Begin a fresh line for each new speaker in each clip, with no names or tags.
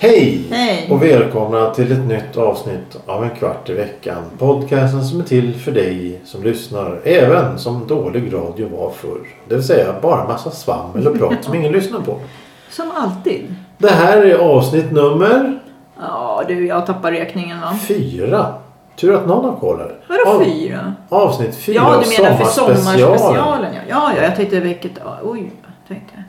Hej!
Hej.
Och välkomna till ett nytt avsnitt av En kvart i veckan. Podcasten som är till för dig som lyssnar. Även som dålig radio var förr. Det vill säga bara massa svammel och prat som ingen lyssnar på.
Som alltid.
Det här är avsnitt nummer
Ja du, jag tappar räkningen va?
fyra. Tur att någon har koll här.
Vadå
Av-
fyra?
Avsnitt fyra
Ja,
av
du menar för
sommarspecialen.
sommarspecialen ja. Ja, ja, jag tänkte vilket... Oj, tänkte jag.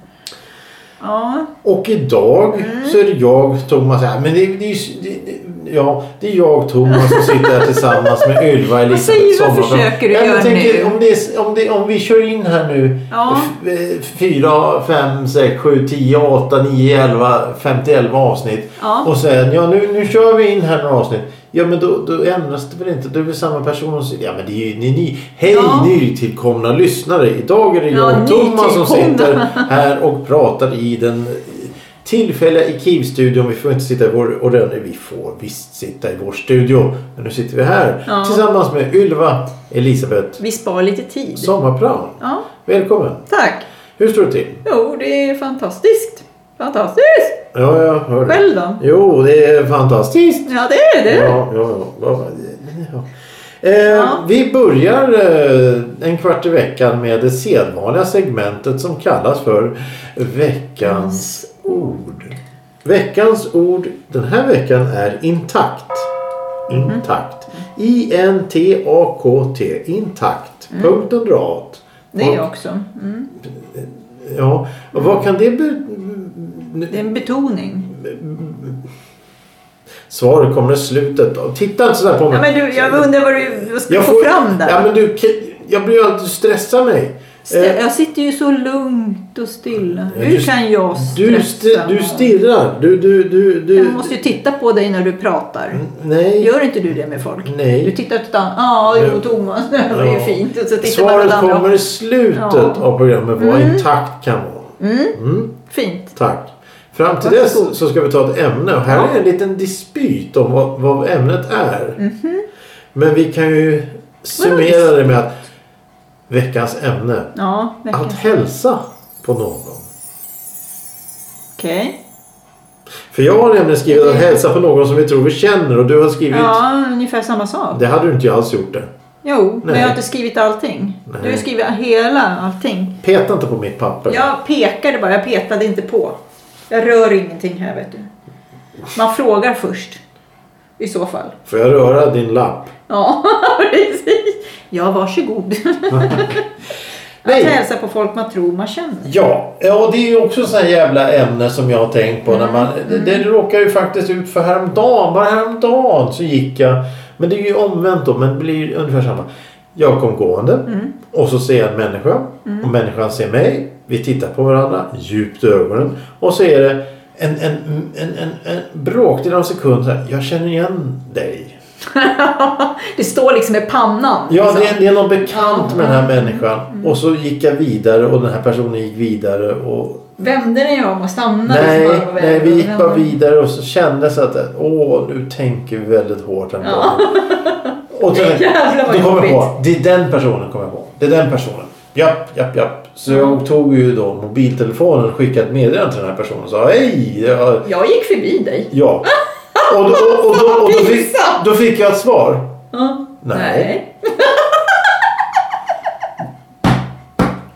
Ja,
Och idag
Mm.
så är det jag, Thomas. Ja, men det, det, är ju- det, det, ja, det är jag, Thomas, som sitter här tillsammans med Ylva Elisabeth
säger du? Vad
Sommarström.
försöker du
ja, men
göra
tänker,
nu?
Om, det, är- om, det, om vi kör in här nu.
Ja.
f- eh, Fyra, fem, sex, sju, tio, åtta, nio, elva, fem till elva avsnitt.
Ja.
Och sen, ja nu, nu kör vi in här några avsnitt. Ja men då, då ändras det väl inte? Du är väl samma person som... Ja men det är ju ni, ni. Hej
Ja.
nytillkomna lyssnare. Idag är det
Ja,
jag, Thomas, som
nytillkomna.
sitter här och pratar i den tillfälliga IKIV-studion. Vi får inte sitta i vår ordentliga... Vi får visst sitta i vår studio. Men nu sitter vi här
Ja.
tillsammans med Ylva Elisabeth
vi spar lite tid.
Sommarplan.
Ja,
Välkommen!
tack.
Hur står det till?
Jo, det är fantastiskt. Fantastiskt!
Ja, jag hör det.
Själv då?
Jo, det är fantastiskt.
Ja, det är det.
Ja, ja, ja. ja. Eh,
Ja.
Vi börjar eh, en kvart i veckan med det sedvanliga segmentet som kallas för Veckans ord. Veckans ord den här veckan är intakt. Intakt. I-N-T-A-K-T. Intakt. Punkten drat.
Mm. Det är jag också. Mm.
Ja, och vad kan det be-
Det är en betoning.
Svaret kommer i slutet. av- Titta inte sådär på mig.
Ja, men du, jag undrar vad du vad ska du få fram där.
Ja, men du, Ke- jag blir ju alltid stressar mig.
Stä-
Eh,
Jag sitter ju så lugnt och stilla.
Ja,
Hur
du-
kan jag
du,
stressa?
st- du stirrar. Du, du, du, du.
Jag måste ju titta på dig när du pratar.
Nej.
Gör inte du det med folk?
Nej.
Du tittar åt ett annat... Ja, jo, Thomas, det var ju
Ja.
fint. Och så tittar man åt
Svaret
andra.
kommer i slutet
Ja. Mm.
av programmet vad intakt kan vara. Mm,
Fint.
tack. Fram till
Varsågod.
dess så ska vi ta ett ämne. Och här
Ja.
är en liten dispyt om vad, vad ämnet är.
Mhm.
Men vi kan ju summera det med att veckans ämne.
Ja, verkligen.
Att hälsa på någon.
Okej.
För jag har nämligen skrivit att hälsa på någon som vi tror vi känner och du har skrivit...
Ja, ungefär samma sak.
Det hade du inte jag alls gjort det.
Jo, men
Nej.
jag har inte skrivit allting.
Nej.
Du har skrivit hela allting.
Peta inte på mitt papper.
Jag pekade bara, jag petade inte på. Jag rör ingenting här, vet du. Man frågar först. I så fall.
Får jag röra din lapp?
Ja, precis. Ja, varsågod.
Nej.
Att hälsa på folk man tror man känner.
Ja, ja, och det är ju också sådana jävla ämne som jag har tänkt på. När man, det, det råkar ju faktiskt ut för häromdagen. Bara häromdagen så gick jag. Men det är ju omvänt då. Men det blir ungefär samma. Jag kom gående. Och så ser jag en människa. Och människan ser mig. Vi tittar på varandra djupt i ögonen. Och så är det en, en, en, en, en bråkdel av en sekund. Så här, jag känner igen dig.
Det står liksom i pannan.
Ja,
liksom.
det är, det är någon bekant med den här människan. Och så gick jag vidare och den här personen gick vidare. Och
Vände ni om och stannade?
Nej,
liksom bara på vägen?
nej, vi gick bara
Vände.
vidare och så kändes det att åh, nu tänker vi väldigt hårt ändå.
Ja.
Och så,
Jävlar vad
då kom jag
jobbigt.
på, det är den personen kommer jag på. Det är den personen. Japp, japp, japp. Så jag tog ju då mobiltelefonen och skickade ett meddelande till den här personen och sa hej. jag-
Jag gick förbi dig.
Ja. Och, då, och, och, då, och då, fick,
Pinsamt.
då fick jag ett svar.
Ja.
Nej.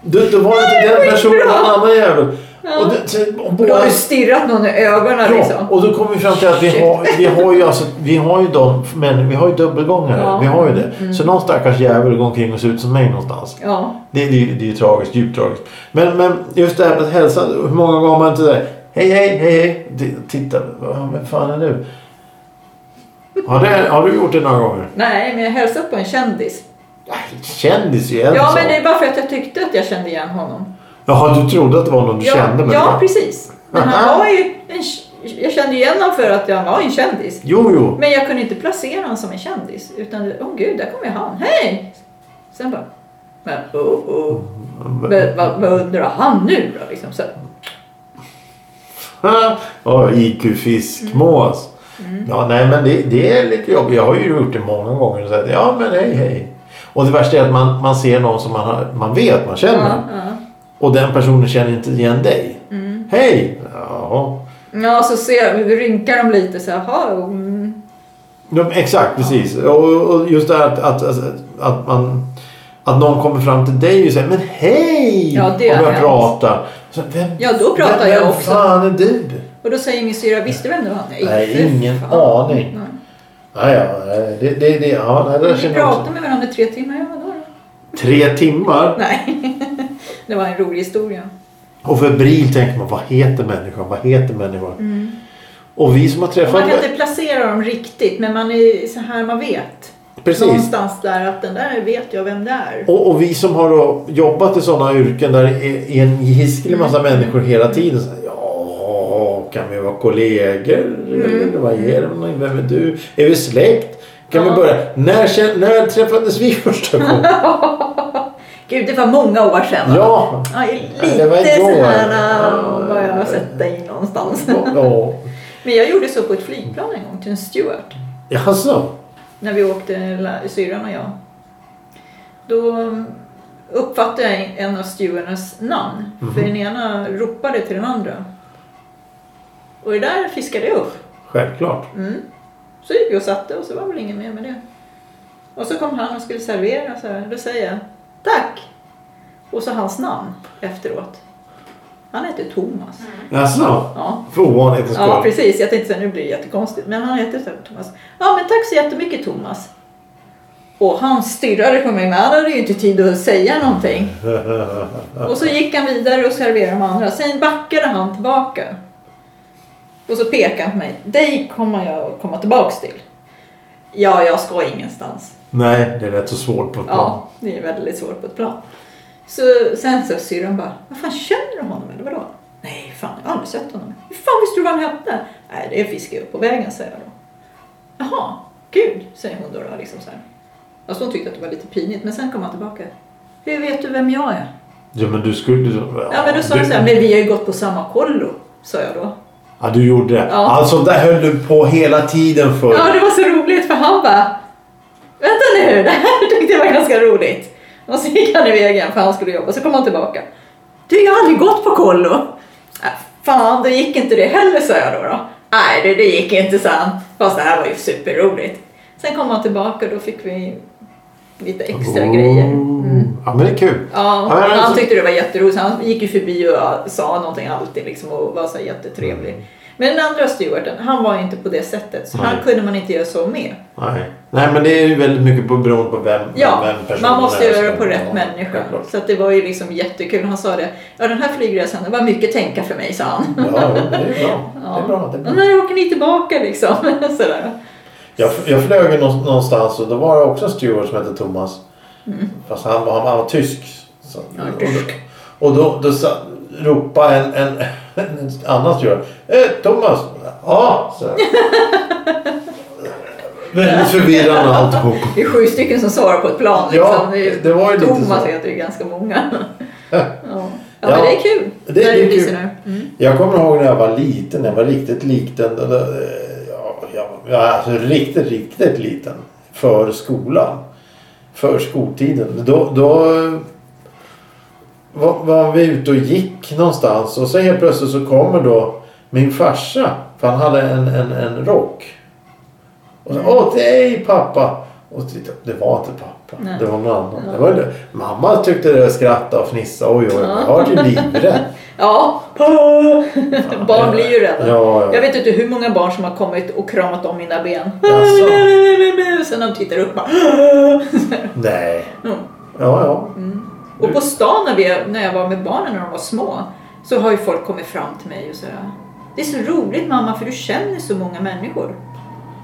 Då, då var det inte den personen, det var en annan jävel. Och, det, och
Då har
båda
du stirrat någon i ögonen
Ja,
liksom.
och då kommer vi fram till att vi har, vi har ju alltså, vi har ju de, men vi har ju dubbelgångare.
Ja. Mm.
Vi har ju det. Så någon stackars jävel går omkring och ser ut som mig någonstans.
Ja.
Det, det, är ju- det är ju tragiskt, djupt tragiskt. Men, men just det här med att hälsa, hur många gånger har man inte säger hej, hej, hej, hej. Det- Titta, vad vem fan är du? Har, det, har du gjort det några gånger?
Nej, men jag hälsade på en kändis.
Ja, Kändis ju en
Ja,
sak.
men det är bara för att jag tyckte att jag kände igen honom.
Jaha, du trodde att det var någon du
ja,
kände? men-
Ja, precis. Men
Aha.
han var ju en, jag kände igen honom för att han var en kändis.
Jo, jo.
Men jag kunde inte placera honom som en kändis. Utan, åh oh, gud, där kommer ju han. Hej! Sen bara,
Mm.
men oh, oh. Men, vad, vad undrar han nu då? Liksom, så.
oh, IQ-fiskmås.
Mm.
Ja, nej, men det, det är lite jobbigt. Jag har ju gjort det många gånger. Så att, ja, men hej, hej. Och det värsta är att man, man ser någon som man, har, man vet, man känner.
Ja, Mm. ja.
Och den personen känner inte igen dig. Hej! Jaha.
ja, så ser, rynkar de lite så här, "Jaha, mm.
Ja, exakt, precis. Och, och just det här att, att, att, att man... Att någon kommer fram till dig och säger men hej!
Ja, det
och
har
börjar
hänt.
prata. Så, vem,
Ja, då pratar
vem,
jag
vem
också.
fan är du?
Och då säger min syra, visste du vem det var?
Nej,
för
ingen
fan.
aning. Ja,
Nej.
ja, nej, det, det, det, ja, nej, det där
Vi
känner jag också.
pratade med varandra i tre timmar, ja vadå då?
Tre timmar.
Nej, det var en rolig historia.
Och febril tänker man, vad heter människan? Vad heter människan? Och vi som har
Och Mm. Man
träffat...
kan inte placera dem riktigt, men man är så här man vet.
Precis.
Någonstans där att den där vet jag vem det är.
Och, och vi som har då jobbat i sådana yrken där det är är en hiskelig massa
Mm.
människor hela tiden. Så här, ja, kan vi vara kollegor?
Mm.
Eller vad är det? för någonting? Vem är du? Är vi släkt? Kan
Ja.
vi börja? När, kän- när träffades vi första gången?
Gud, det var många år sedan. va?
ja.
Ja, lite
Det var igår.
så här äh, vad jag har
Ja.
sett dig någonstans.
ja.
Men jag gjorde så på ett flygplan en gång till en steward.
Jaså?
När vi åkte, la- syrran och jag. Då um, uppfattade jag en av stewardernas namn. För den ena ropade till den andra. Och det där fiskade jag upp.
Självklart.
Mm. Så gick vi och satte och så var väl ingen mer med det. Och så kom han och skulle servera så här. Då säger jag tack. Och så hans namn efteråt. Han heter Thomas.
Mm. Jaså?
Ja.
För ovanlighetens skull.
ja, precis. Jag tänkte så här, nu blir det jättekonstigt. Men han heter så här, Thomas. Ja, men tack så jättemycket Thomas. Och han stirrade på mig men han hade ju inte tid att säga någonting. Och så gick han vidare och serverade de andra. Sen backade han tillbaka. Och så pekade han på mig. Dig kommer jag komma tillbaks till. Ja, jag ska ingenstans.
Nej, det är rätt så svårt på ett plan.
Ja, det är väldigt svårt på ett plan. Så sen så syrran bara, vad fan känner du honom eller vadå? Nej, fan jag har aldrig sett honom. Hur fan visste du vad han hette? Nej, det fiskar jag upp på vägen, säger jag då. Jaha, gud, säger hon då. då liksom så här. Alltså hon tyckte att det var lite pinigt, men sen kom han tillbaka. Hur vet du vem jag är?
Ja, men du skulle... Du,
Ja, men då sa
du,
jag så här, men vi har ju gått på samma kollo, sa jag då.
Ja, du gjorde det.
Ja.
Alltså, där höll du på hela tiden för.
Ja, det var så roligt för han bara, vänta nu, det här tyckte jag var ganska roligt. Och så gick han iväg igen för han skulle jobba, så kom han tillbaka. Du, jag har aldrig gått på kollo. Äh, Fan, det gick inte det heller, sa jag då. då. Nej, det, det gick inte, sa han. Fast det här var ju superroligt. Sen kom han tillbaka och då fick vi lite extra
Oh.
grejer. Mm.
Ja, men det är kul.
Ja,
men alltså-
han tyckte det var jätteroligt. så Han gick ju förbi och sa någonting alltid liksom, och var så här jättetrevlig. Men den andra stewarden, han var inte på det sättet. Så
Mm. Nej.
han kunde man inte göra så med.
Nej. Nej, men det är ju väldigt mycket på, beroende på vem,
Ja,
vem personen
man måste
är
göra det
som-
på rätt
ja,
människa.
självklart.
Så att det var ju liksom jättekul. Han sa det, ja den här flygresan, det var mycket tänka för mig, sa han.
Ja, ja, men det är bra.
Ja.
Det är bra. Det är
Och
bra.
när åker ni tillbaka liksom? Sådär.
Jag, jag flög ju nå- någonstans och då var det också en steward som hette Thomas. Fast han var, han var tysk. Så,
Mm. Ja, tysk.
Och då, då sa, ropade en, en, en annan steward. Eh, Thomas! Ja! Så. Väldigt förvirrande alltihop.
Det är sju stycken som svarar på ett plan. Liksom.
Ja, det var ju lite
Thomas
så.
heter ju ganska många. Ja. Ja,
Ja,
men det är kul.
det- det
när
är
blir
kul.
sådär. Mm.
Jag kommer ihåg när jag var liten, när jag var riktigt liten. då- då, eh, Ja, jag var alltså riktigt, riktigt liten. För skolan. För skoltiden. Då, då eh, var, var vi ute och gick någonstans och sen helt plötsligt så kommer då min farsa. För han hade en, en, en rock. Och så, åh hej pappa! Och titta, det var inte pappa.
Nej.
Det var någon annan. Det var, ju det. mamma tyckte det skratta och fnissa. Oj, oj, oj. Jag var ju livrädd.
Ja, barn blir ju rädda.
Ja, ja.
Jag vet inte hur många barn som har kommit och kramat om mina ben.
Jaså?
Sen när de tittar upp bara...
Nej.
Mm.
Ja, ja.
Och på stan när, vi, när jag var med barnen när de var små så har ju folk kommit fram till mig och sådär. Det är så roligt mamma för du känner så många människor.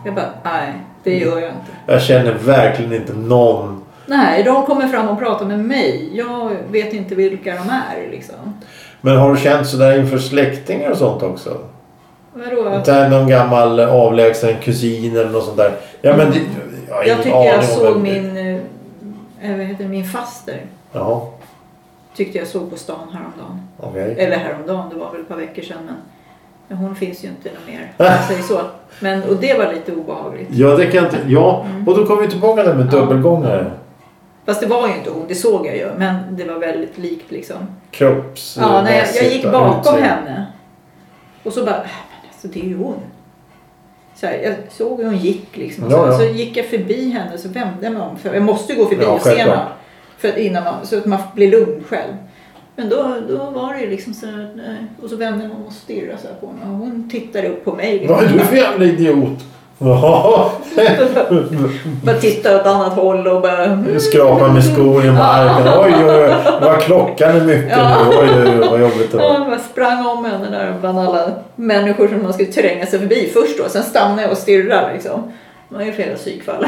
Jag bara, nej det
Mm.
gör jag inte.
Jag känner verkligen inte någon.
Nej, de kommer fram och pratar med mig. Jag vet inte vilka de är liksom.
Men har du känt sådär inför släktingar och sånt också?
Vadå?
Inte någon gammal avlägsen kusin eller något sånt där? Ja, men det, jag har
Mm. Jag
ingen
tycker
aning
jag
om
såg
vem det-
min, eh, vad heter det, min faster.
Ja,
Tyckte jag såg på stan häromdagen.
okej.
Eller häromdagen, det var väl ett par veckor sedan. Men Men hon finns ju inte någon mer. Jag säger så. Men, och det var lite obehagligt.
Ja, det kan jag inte... Ja,
Mm.
och då kommer vi tillbaka där med dubbelgångare.
Fast det var ju inte hon, det såg jag ju. Men det var väldigt likt liksom.
Kropps... eh,
Ja, nej, jag, jag
mässigt
gick
och
bakom
utseende.
henne. Och så bara, äh, men alltså det är ju hon. Så här, jag såg hur hon gick liksom. Och så,
Ja, ja.
så gick jag förbi henne så vände jag mig om. För jag måste ju gå förbi
Ja,
och se
självklart.
någon. För att innan man, så att man blir lugn själv. Men då, då var det ju liksom så här, nej. och så vände man och stirrade så här på henne. Och hon tittade upp på mig. Liksom.
Vad är du för jävla idiot? Ja,
bara tittade åt annat håll och bara...
Skrapa med skon i marken. Oj, oj, oj. Vad klockan är mycket
Ja.
nu. Oj, oj, oj. Vad jobbigt det
Ja,
var.
jag bara sprang om henne där bland alla människor som man skulle tränga sig förbi först då. Sen stannade jag och stirrade liksom. Man har ju flera psykfall.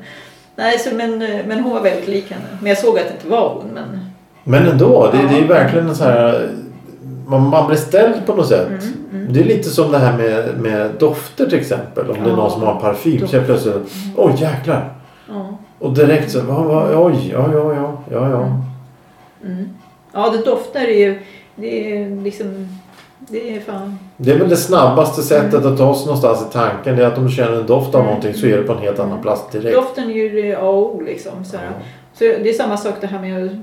Nej, så, men, eh, men hon var väldigt lik henne. Men jag såg att det inte var hon. Men,
Men ändå, det, det är ju verkligen en sån här... Man, man blir ställd på något sätt.
Mm,
Det är lite som det här med, med dofter till exempel. Om det är
Ja.
någon som har parfym så
Dofter. Mm.
är plötsligt... Oj, jäklar.
ja.
Och direkt så... Va, va, oj, ja, ja, ja. ja, ja.
Mm. ja, det doftar ju. Det är liksom... Det är fan...
Det är väl det snabbaste
Mm.
sättet att ta sig någonstans i tanken. Det är att om du känner en doft av någonting så är det på en helt annan plats direkt.
Doften är ju det A och O liksom. Så, här. så det är samma sak det här med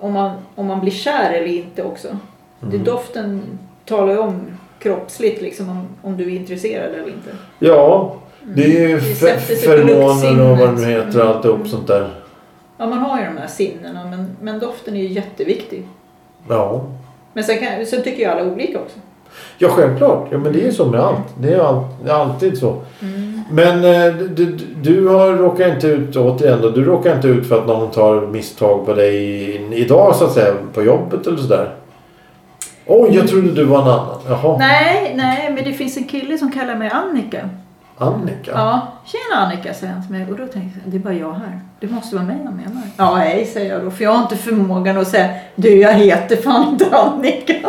om man, om man blir kär eller inte också.
Mm.
Det, doften talar ju om kroppsligt liksom om, om du är intresserad eller inte.
Ja, det är ju
Mm. Det
fe-
sätter sig på
feromoner och vad det nu
luktsinnet.
heter och alltihop
Mm.
sånt där.
Ja, man har ju de här sinnena men, men doften är ju jätteviktig.
Ja.
Men sen, kan, sen tycker ju alla olika också.
ja, självklart. Ja, men det är ju så med allt. Det är ju all- det är alltid så. Men eh, du, du- du har råkar inte ut, återigen då, du råkar inte ut för att någon tar misstag på dig i- idag så att säga, på jobbet eller sådär. Oj, jag trodde du var en annan. Jaha,
Nej, nej, men det finns en kille som kallar mig Annika.
Annika.
Ja, tjena Annika säger han till mig och då tänkte jag det är bara jag här. Det måste vara mig han menar. Ja, nej säger jag då för jag har inte förmågan att säga du jag heter fan inte Annika.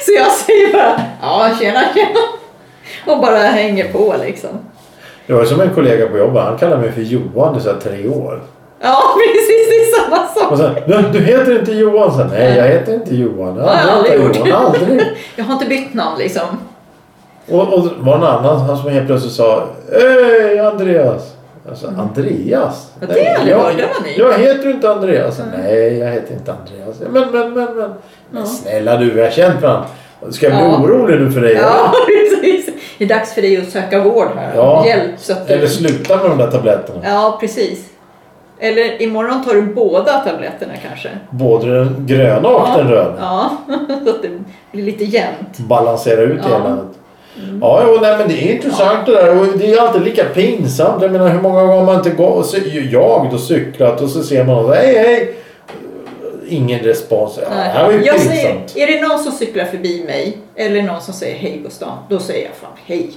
Så jag säger bara ja tjena tjena och bara hänger på liksom.
Det var som en kollega på jobbet, han kallade mig för Johan i så här tre år.
Ja precis det är samma
Och
sak.
sen, du, du heter inte Johan. Sen, Nej, jag heter inte Johan. Jag
har jag
har aldrig
aldrig
hetat
gjort.
Johan. Aldrig.
Jag har inte bytt namn liksom.
Och, och det var en annan han som helt plötsligt sa Hej Andreas! Jag sa, Andreas?
Mm. Ja, det har jag aldrig hört. Det var ny.
Jag heter du inte Andreas. Nej, jag heter inte Andreas. Men, men, men, men. Men
Ja.
snälla du, vi har känt varandra. Ska jag bli
Ja.
orolig nu för dig?
Ja precis. Det är dags för dig att söka vård här.
Ja.
Hjälp så att
Eller
du...
sluta med de där tabletterna.
Ja precis. Eller imorgon tar du båda tabletterna kanske.
Både den gröna och den röda.
Ja, så att det blir lite jämnt.
balansera ut
Ja. Mm.
hela landet. Ja, jo, nej, men det är intressant det där. Och det är alltid lika pinsamt. Jag menar hur många gånger har man inte går, så, jag då cyklat och så ser man någon hej hej. Ingen respons. Ja, det här var ju
jag
pinsamt.
säger, är det någon som cyklar förbi mig eller någon som säger hej på stan, då säger jag fan hej.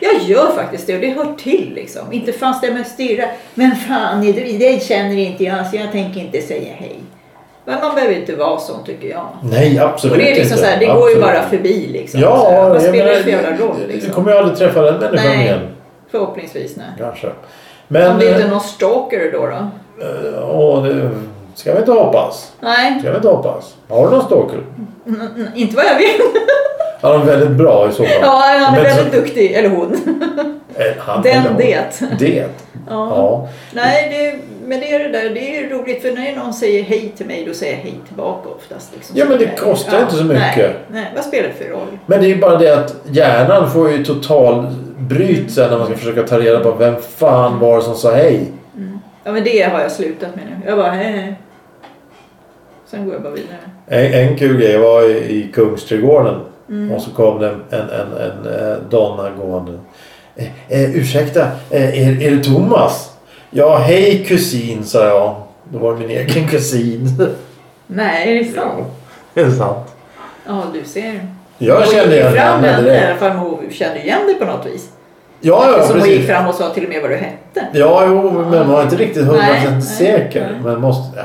Jag gör faktiskt det och det hör till liksom. Inte fanns det med att stirra. Men fan, är det, det känner inte jag så jag tänker inte säga hej. Men man behöver inte vara sån tycker jag.
Nej, absolut
Och det är liksom
inte.
så här, det går ju
Absolut.
bara förbi liksom. Så
Ja,
här, Vad
jag
spelar det
menar,
för jävla roll
Du
liksom?
kommer ju aldrig träffa den människan
Nej.
igen.
Förhoppningsvis nej.
Kanske. Men...
Om det inte är
eh,
någon stalker då då?
åh, det ska vi inte hoppas.
Nej,
Ska vi inte hoppas. Har du någon stalker?
n- n- inte vad jag vet.
Han är väldigt bra i så fall.
Ja, han är
Men så-
väldigt duktig. Eller hon.
Eh, Han,
Den
eller hon.
det.
Det.
Ja.
Ja.
Nej, det, men det är det där. Det är roligt för när någon säger hej till mig då säger jag hej tillbaka oftast. Liksom.
Ja, men det
Så där.
kostar inte så
Nej,
mycket.
nej, vad spelar det för roll?
Men det är ju bara det att hjärnan får ju total bryt sen när man ska försöka ta reda på vem fan var det som sa hej.
Ja, men det har jag slutat med nu. Jag bara hej, hej. Sen går jag bara vidare.
En, en kul grej var i, i Kungsträdgården
Mm.
och så kom det en, en, en, en eh, donna gående. Eh, eh, ursäkta, eh, är, är det Thomas? Ja, hej kusin sa jag. Då var det min egen kusin.
Nej, är det sant?
det är sant.
Ja, du ser.
Jag
Hon
kände
gick
igen
fram
henne
henne i
direkt.
alla fall. Hon kände igen dig på något vis.
Ja, ja,
Som hon gick
precis.
fram och sa till och med vad du hette.
Ja, jo, men man var inte riktigt
Nej, nej,
100% säker.
nej.
Men måste... Ja.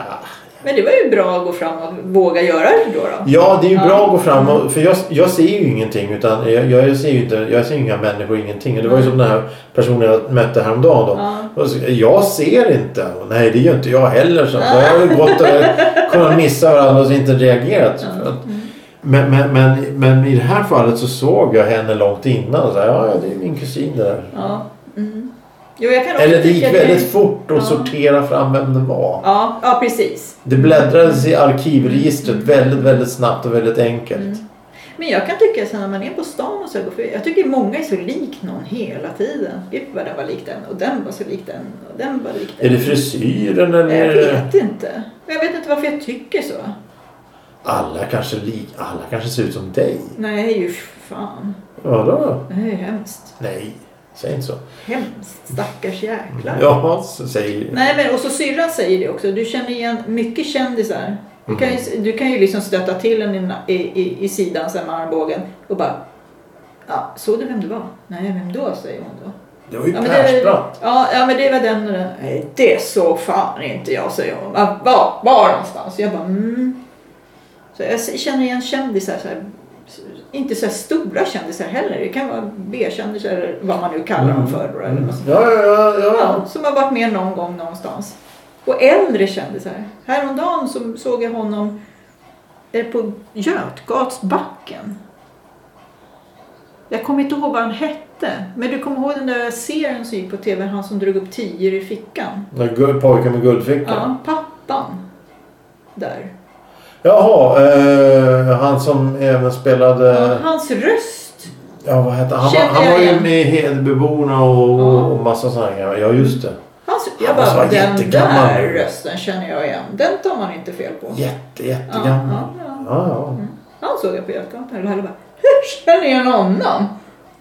Men det var ju bra att gå fram och våga göra det då. då.
Ja, det är ju
Ja.
bra att gå fram och, för jag, jag ser ju ingenting utan jag, jag ser ju inte, jag ser inga människor, ingenting. Och det var ju som den här personen jag mötte häromdagen då.
Ja.
Och så, Jag ser inte. Och Nej, det gör inte
Mm.
jag heller. Så jag har ju gått och kunnat missa varandra och inte reagerat. För att- Men, men, men, men i det här fallet så såg jag henne långt innan. Så här, ja, ja, det är min kusin det där.
Ja. Mm. Jo, jag kan också
Eller det gick
tycka
väldigt fort att
Ja.
sortera fram vem det var.
Ja, ja, precis.
Det bläddrades i arkivregistret
Mm.
väldigt, väldigt snabbt och väldigt enkelt.
Men jag kan tycka så här, när man är på stan och så går förbi. Jag tycker många är så lik någon hela tiden. Gud vad den var lik den och den var så lik den och den var lik den.
Är det frisyren eller?
Jag
är det-
vet inte. Jag vet inte varför jag tycker så.
Alla kanske, lik, alla kanske ser ut som dig.
Nej, ju fan.
Vadå?
Det här är ju hemskt.
Nej, säg inte så.
Hemskt. Stackars jäklar.
Ja, så säger
Nej, men och så syrran säger det också. Du känner igen mycket kändisar. Du kan ju, du kan ju liksom stöta till en i, na- i, i, i sidan sen med armbågen och bara Ja, såg du vem det var? Nej, vem då? säger hon då.
Det var ju
Ja, men det,
Persbrandt.
ja, ja, men det var den eh, och den. Nej, det såg fan inte jag, säger hon. Var, var, var någonstans? Jag bara mm. Så jag känner igen kändisar. Så här, inte så här stora kändisar heller. Det kan vara B-kändisar eller vad man nu kallar dem för. Då, eller
Mm.
vad som-
Ja, ja, ja. ja.
Ja, som har varit med någon gång någonstans. Och äldre kändisar. Häromdagen så såg jag honom eh, på Götgatsbacken. Jag kommer inte ihåg vad han hette. Men du kommer ihåg den där serien som gick på tv, han som drog upp tior i fickan?
Den där gu- Pojken med guldfickan.
Ja, pappan. Där.
Jaha, eh, han som även spelade...
Hans röst.
Ja, vad hette han?
Kände
Han, han
jag
var ju
igen.
med i Hedebyborna och,
Ja.
och massa sådana här grejer. Ja, just det.
Hans,
Han
jag
måste
bara,
vara
den
jättegammal.
där rösten känner jag igen. Den tar man inte fel på.
Jätte,
Ja,
jättegammal.
ja, Mm. ja.
Ja, ja.
Han såg jag på Götgatan och alla bara Hur känner jag någon annan?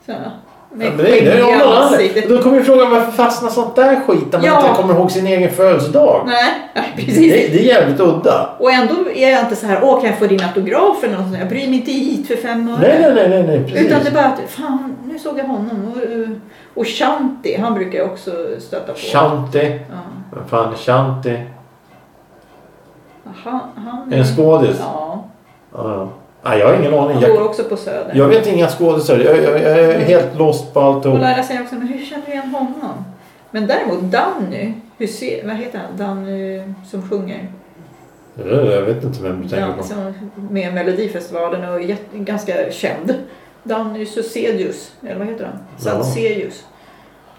Så, här,
Ja,
med
men det är- det är
skägg i
ju någon
ansiktet.
annan. Då kommer ju frågan varför fastnar sånt där skit när man
Ja.
inte kommer ihåg sin egen födelsedag?
Nej, nej,
Det,
precis.
det är jävligt udda.
Och ändå är jag inte så här, åh kan jag få din autograf eller något sånt. Jag bryr mig inte hit för fem öre.
Nej, nej, nej, nej, nej precis.
Utan det är bara att, fan nu såg jag honom. Och, eh, och Shanti, han brukar jag också stöta på.
Shanti.
Ja.
Vad fan är Shanti?
Han, han
En skådis? Ja.
Ja,
ja. Nej, jag har ingen aning.
han
Jag,
bor också på Söder.
jag vet inga skådisar. Jag, jag, jag är
Mm.
helt lost på
Och
alltihop.
Laila säger också, men hur känner du igen honom? Men däremot Danny, Hussein, vad heter han? Danny som sjunger.
Jag vet inte vem du tänker
Ja,
på.
som med Melodifestivalen och är jätte- ganska känd. Danny Susedius, eller vad heter han? Sadselius.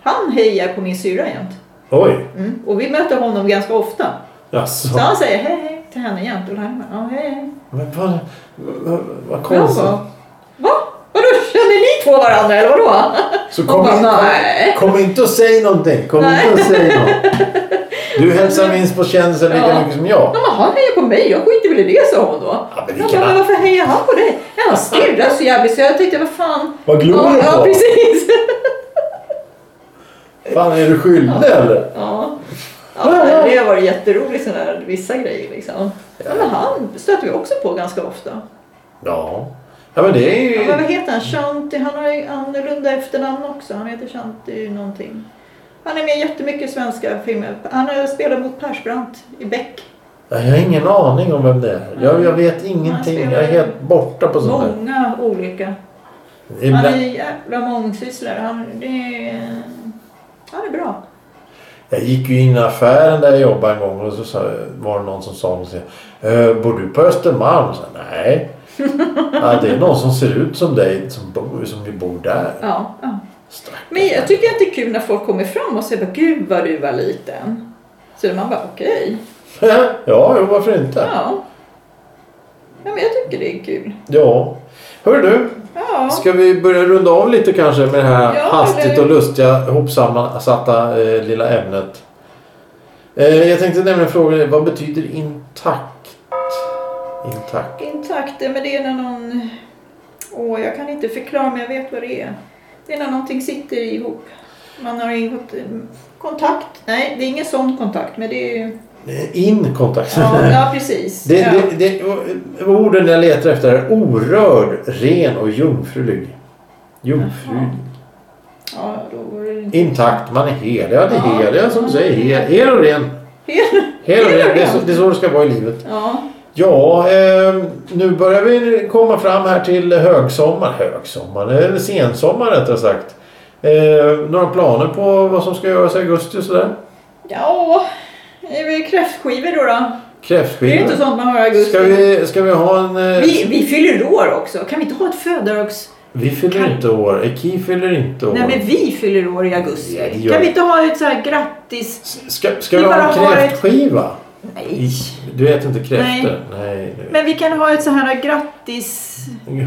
Han hejar på min syrra jämt.
Oj!
Mm. Och vi möter honom ganska ofta. Så
Jaså?
han säger hej hej till henne jämt. Och Laila bara, ja hej hej.
Men vad, vad, vad
Jag
konstigt.
bara, va? Vadå känner ni två varandra eller vadå?
Så
Hon
kom,
bara,
inte,
nej.
kom inte och säg någonting. Kom
Nej.
inte och säg något. Du hälsar minst på kändisen lika
Ja.
mycket som jag.
Ja, men han hejar på mig, jag skiter väl i det sa hon då.
Ja, men
jag
vilken
bara, men
app.
varför hejar han på dig? Ja, han stirrar så jävligt så jag tänkte, vad fan.
Vad glor
ja,
du på?
Ja, precis.
Fan, är du skyldig eller?
Ja. Ja, det har varit jätteroligt sådana här vissa grejer liksom. Ja, men han stöter vi också på ganska ofta.
Ja. Ja men det är
Ja,
ju...
men vad heter han? Shanti, han har ju annorlunda efternamn också. Han heter Shanti någonting. Han är med i jättemycket svenska filmer. Han har spelat mot Persbrandt i Beck.
Jag har ingen aning om vem det är. Jag, jag vet ingenting. Jag är helt borta på sånt där.
Många olika. Han är
Ibland,
jävla mångsysslare. Han, det är, han är bra.
jag gick ju in i affären där jag jobbade en gång och så sa, var det någon som sa någonting. "Eh, Bor du på Östermalm? Så, Nej. ja, det är någon som ser ut som dig som bor, som vi bor där.
Ja, ja.
Stackars.
Men jag tycker att det är kul när folk kommer fram och säger bara, gud vad du var liten. Så man bara okej.
ja, jo, varför inte?
Ja. ja, men jag tycker det är kul.
Ja. Hör du,
Ja,
ska vi börja runda av lite kanske med det här
Ja,
hastigt
eller-
och lustiga hopsammansatta eh, lilla ämnet? Eh, jag tänkte nämligen fråga dig, vad betyder intakt? Intakt.
intakt. Men det är när någon... Åh, jag kan inte förklara men jag vet vad det är. Det är när någonting sitter ihop. Man har ingått eh, kontakt. Nej, det är ingen sån kontakt. Men det är...
Eh, In kontakt.
Ja, ja precis.
Det,
ja.
det, det, orden jag letar efter är orörd, ren och jungfrulig. Jungfrulig.
Ja, då var det inte...
Intakt, man är hel. Ja, det är
Ja.
hel. Ja, som du säger, hel, hel och ren. Hel och ren. Det är, så, det är så det ska vara i livet.
Ja,
Ja, eh, nu börjar vi komma fram här till högsommar. Högsommar, eller sensommar rättare sagt. Eh, några planer på vad som ska göras i augusti och sådär?
ja. Det är väl kräftskivor då. då. Det är ju inte
Kräftskiva.
sånt man har i augusti.
Ska vi, ska vi ha en... eh,
Vi, vi fyller år också. Kan vi inte ha ett födelsedags...
Vi fyller
Kan-
inte år. Eki fyller inte år.
Nej men vi fyller år i augusti.
Ja, det gör
Kan vi
vi.
inte ha ett så här grattis...
S- Ska, ska
Vi
vi ha
bara
en
har ett-
kräftskiva?
Nej.
Du äter inte kräftor? Nej. nej.
Men vi kan ha ett så här grattis...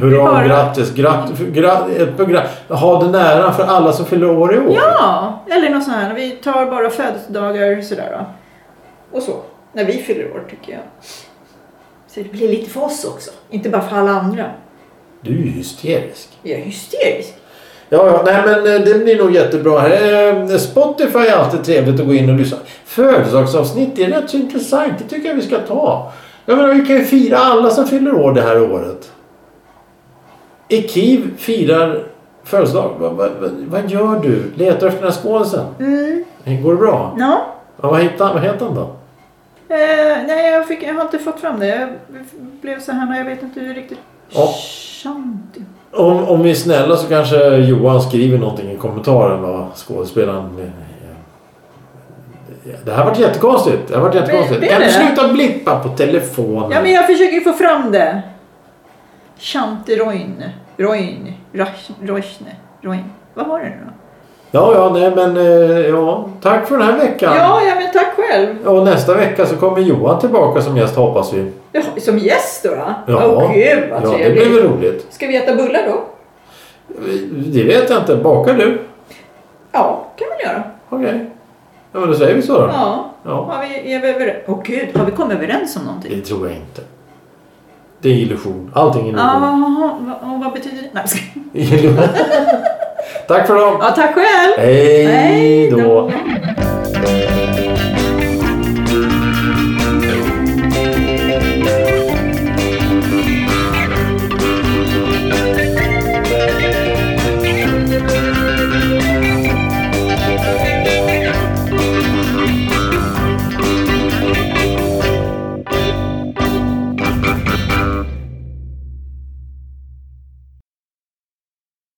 Hurra,
bara-
grattis. Gratt, för- gra, ett program. Ha den äran för alla som fyller år i år.
Ja! Eller något sånt här. Vi tar bara födelsedagar sådär va. Och så. När vi fyller år tycker jag. Så det blir lite för oss också. Inte bara för alla andra.
Du är ju hysterisk.
Jag är hysterisk.
Ja, ja, nej men eh, det blir nog jättebra. Eh, Spotify är alltid trevligt att gå in och lyssna. Födelsedagsavsnitt det är rätt så intressant. Det tycker jag vi ska ta. Jag menar, vi kan ju fira alla som fyller år det här året. Ekiv firar födelsedag. Vad, vad, vad, vad gör du? Letar efter den här skånisen?
Mm.
Går det bra?
Ja.
Ja, vad, hittar, vad heter han då?
Eh, nej, jag, fick, jag har inte fått fram det. Jag blev så här när jag vet inte hur riktigt...
Ja.
Shanti.
Om, om vi är snälla så kanske Johan skriver någonting i kommentaren vad skådespelaren... eh, Det här vart jättekonstigt. Det här vart jättekonstigt.
det är
kan du
det.
sluta blippa på telefonen?
Ja, men jag försöker ju få fram det. Shanti Roin. Roin. Rash- Roishne. Roin. Vad var det nu då?
ja, ja, nej men eh, ja. Tack för den här veckan.
Ja, ja men tack själv.
Och nästa vecka så kommer Johan tillbaka som gäst hoppas vi.
Ja, som gäst då? då?
Ja,
Åh, gud vad
ja det
trevligt.
blir väl roligt.
Ska vi äta bullar då?
Det vet jag inte. Bakar du?
Ja, kan vi göra.
Okej. Ja, men då säger vi så då.
Ja.
Ja.
Har vi, är vi överens? Åh gud, har vi kommit överens om någonting?
Det tror jag inte. Det är illusion. Allting är illusion.
Jaha, vad- och vad betyder det? Nej, jag skojar.
Tack för dem.
Ja, tack själv.
Hej
Hej
då.
då.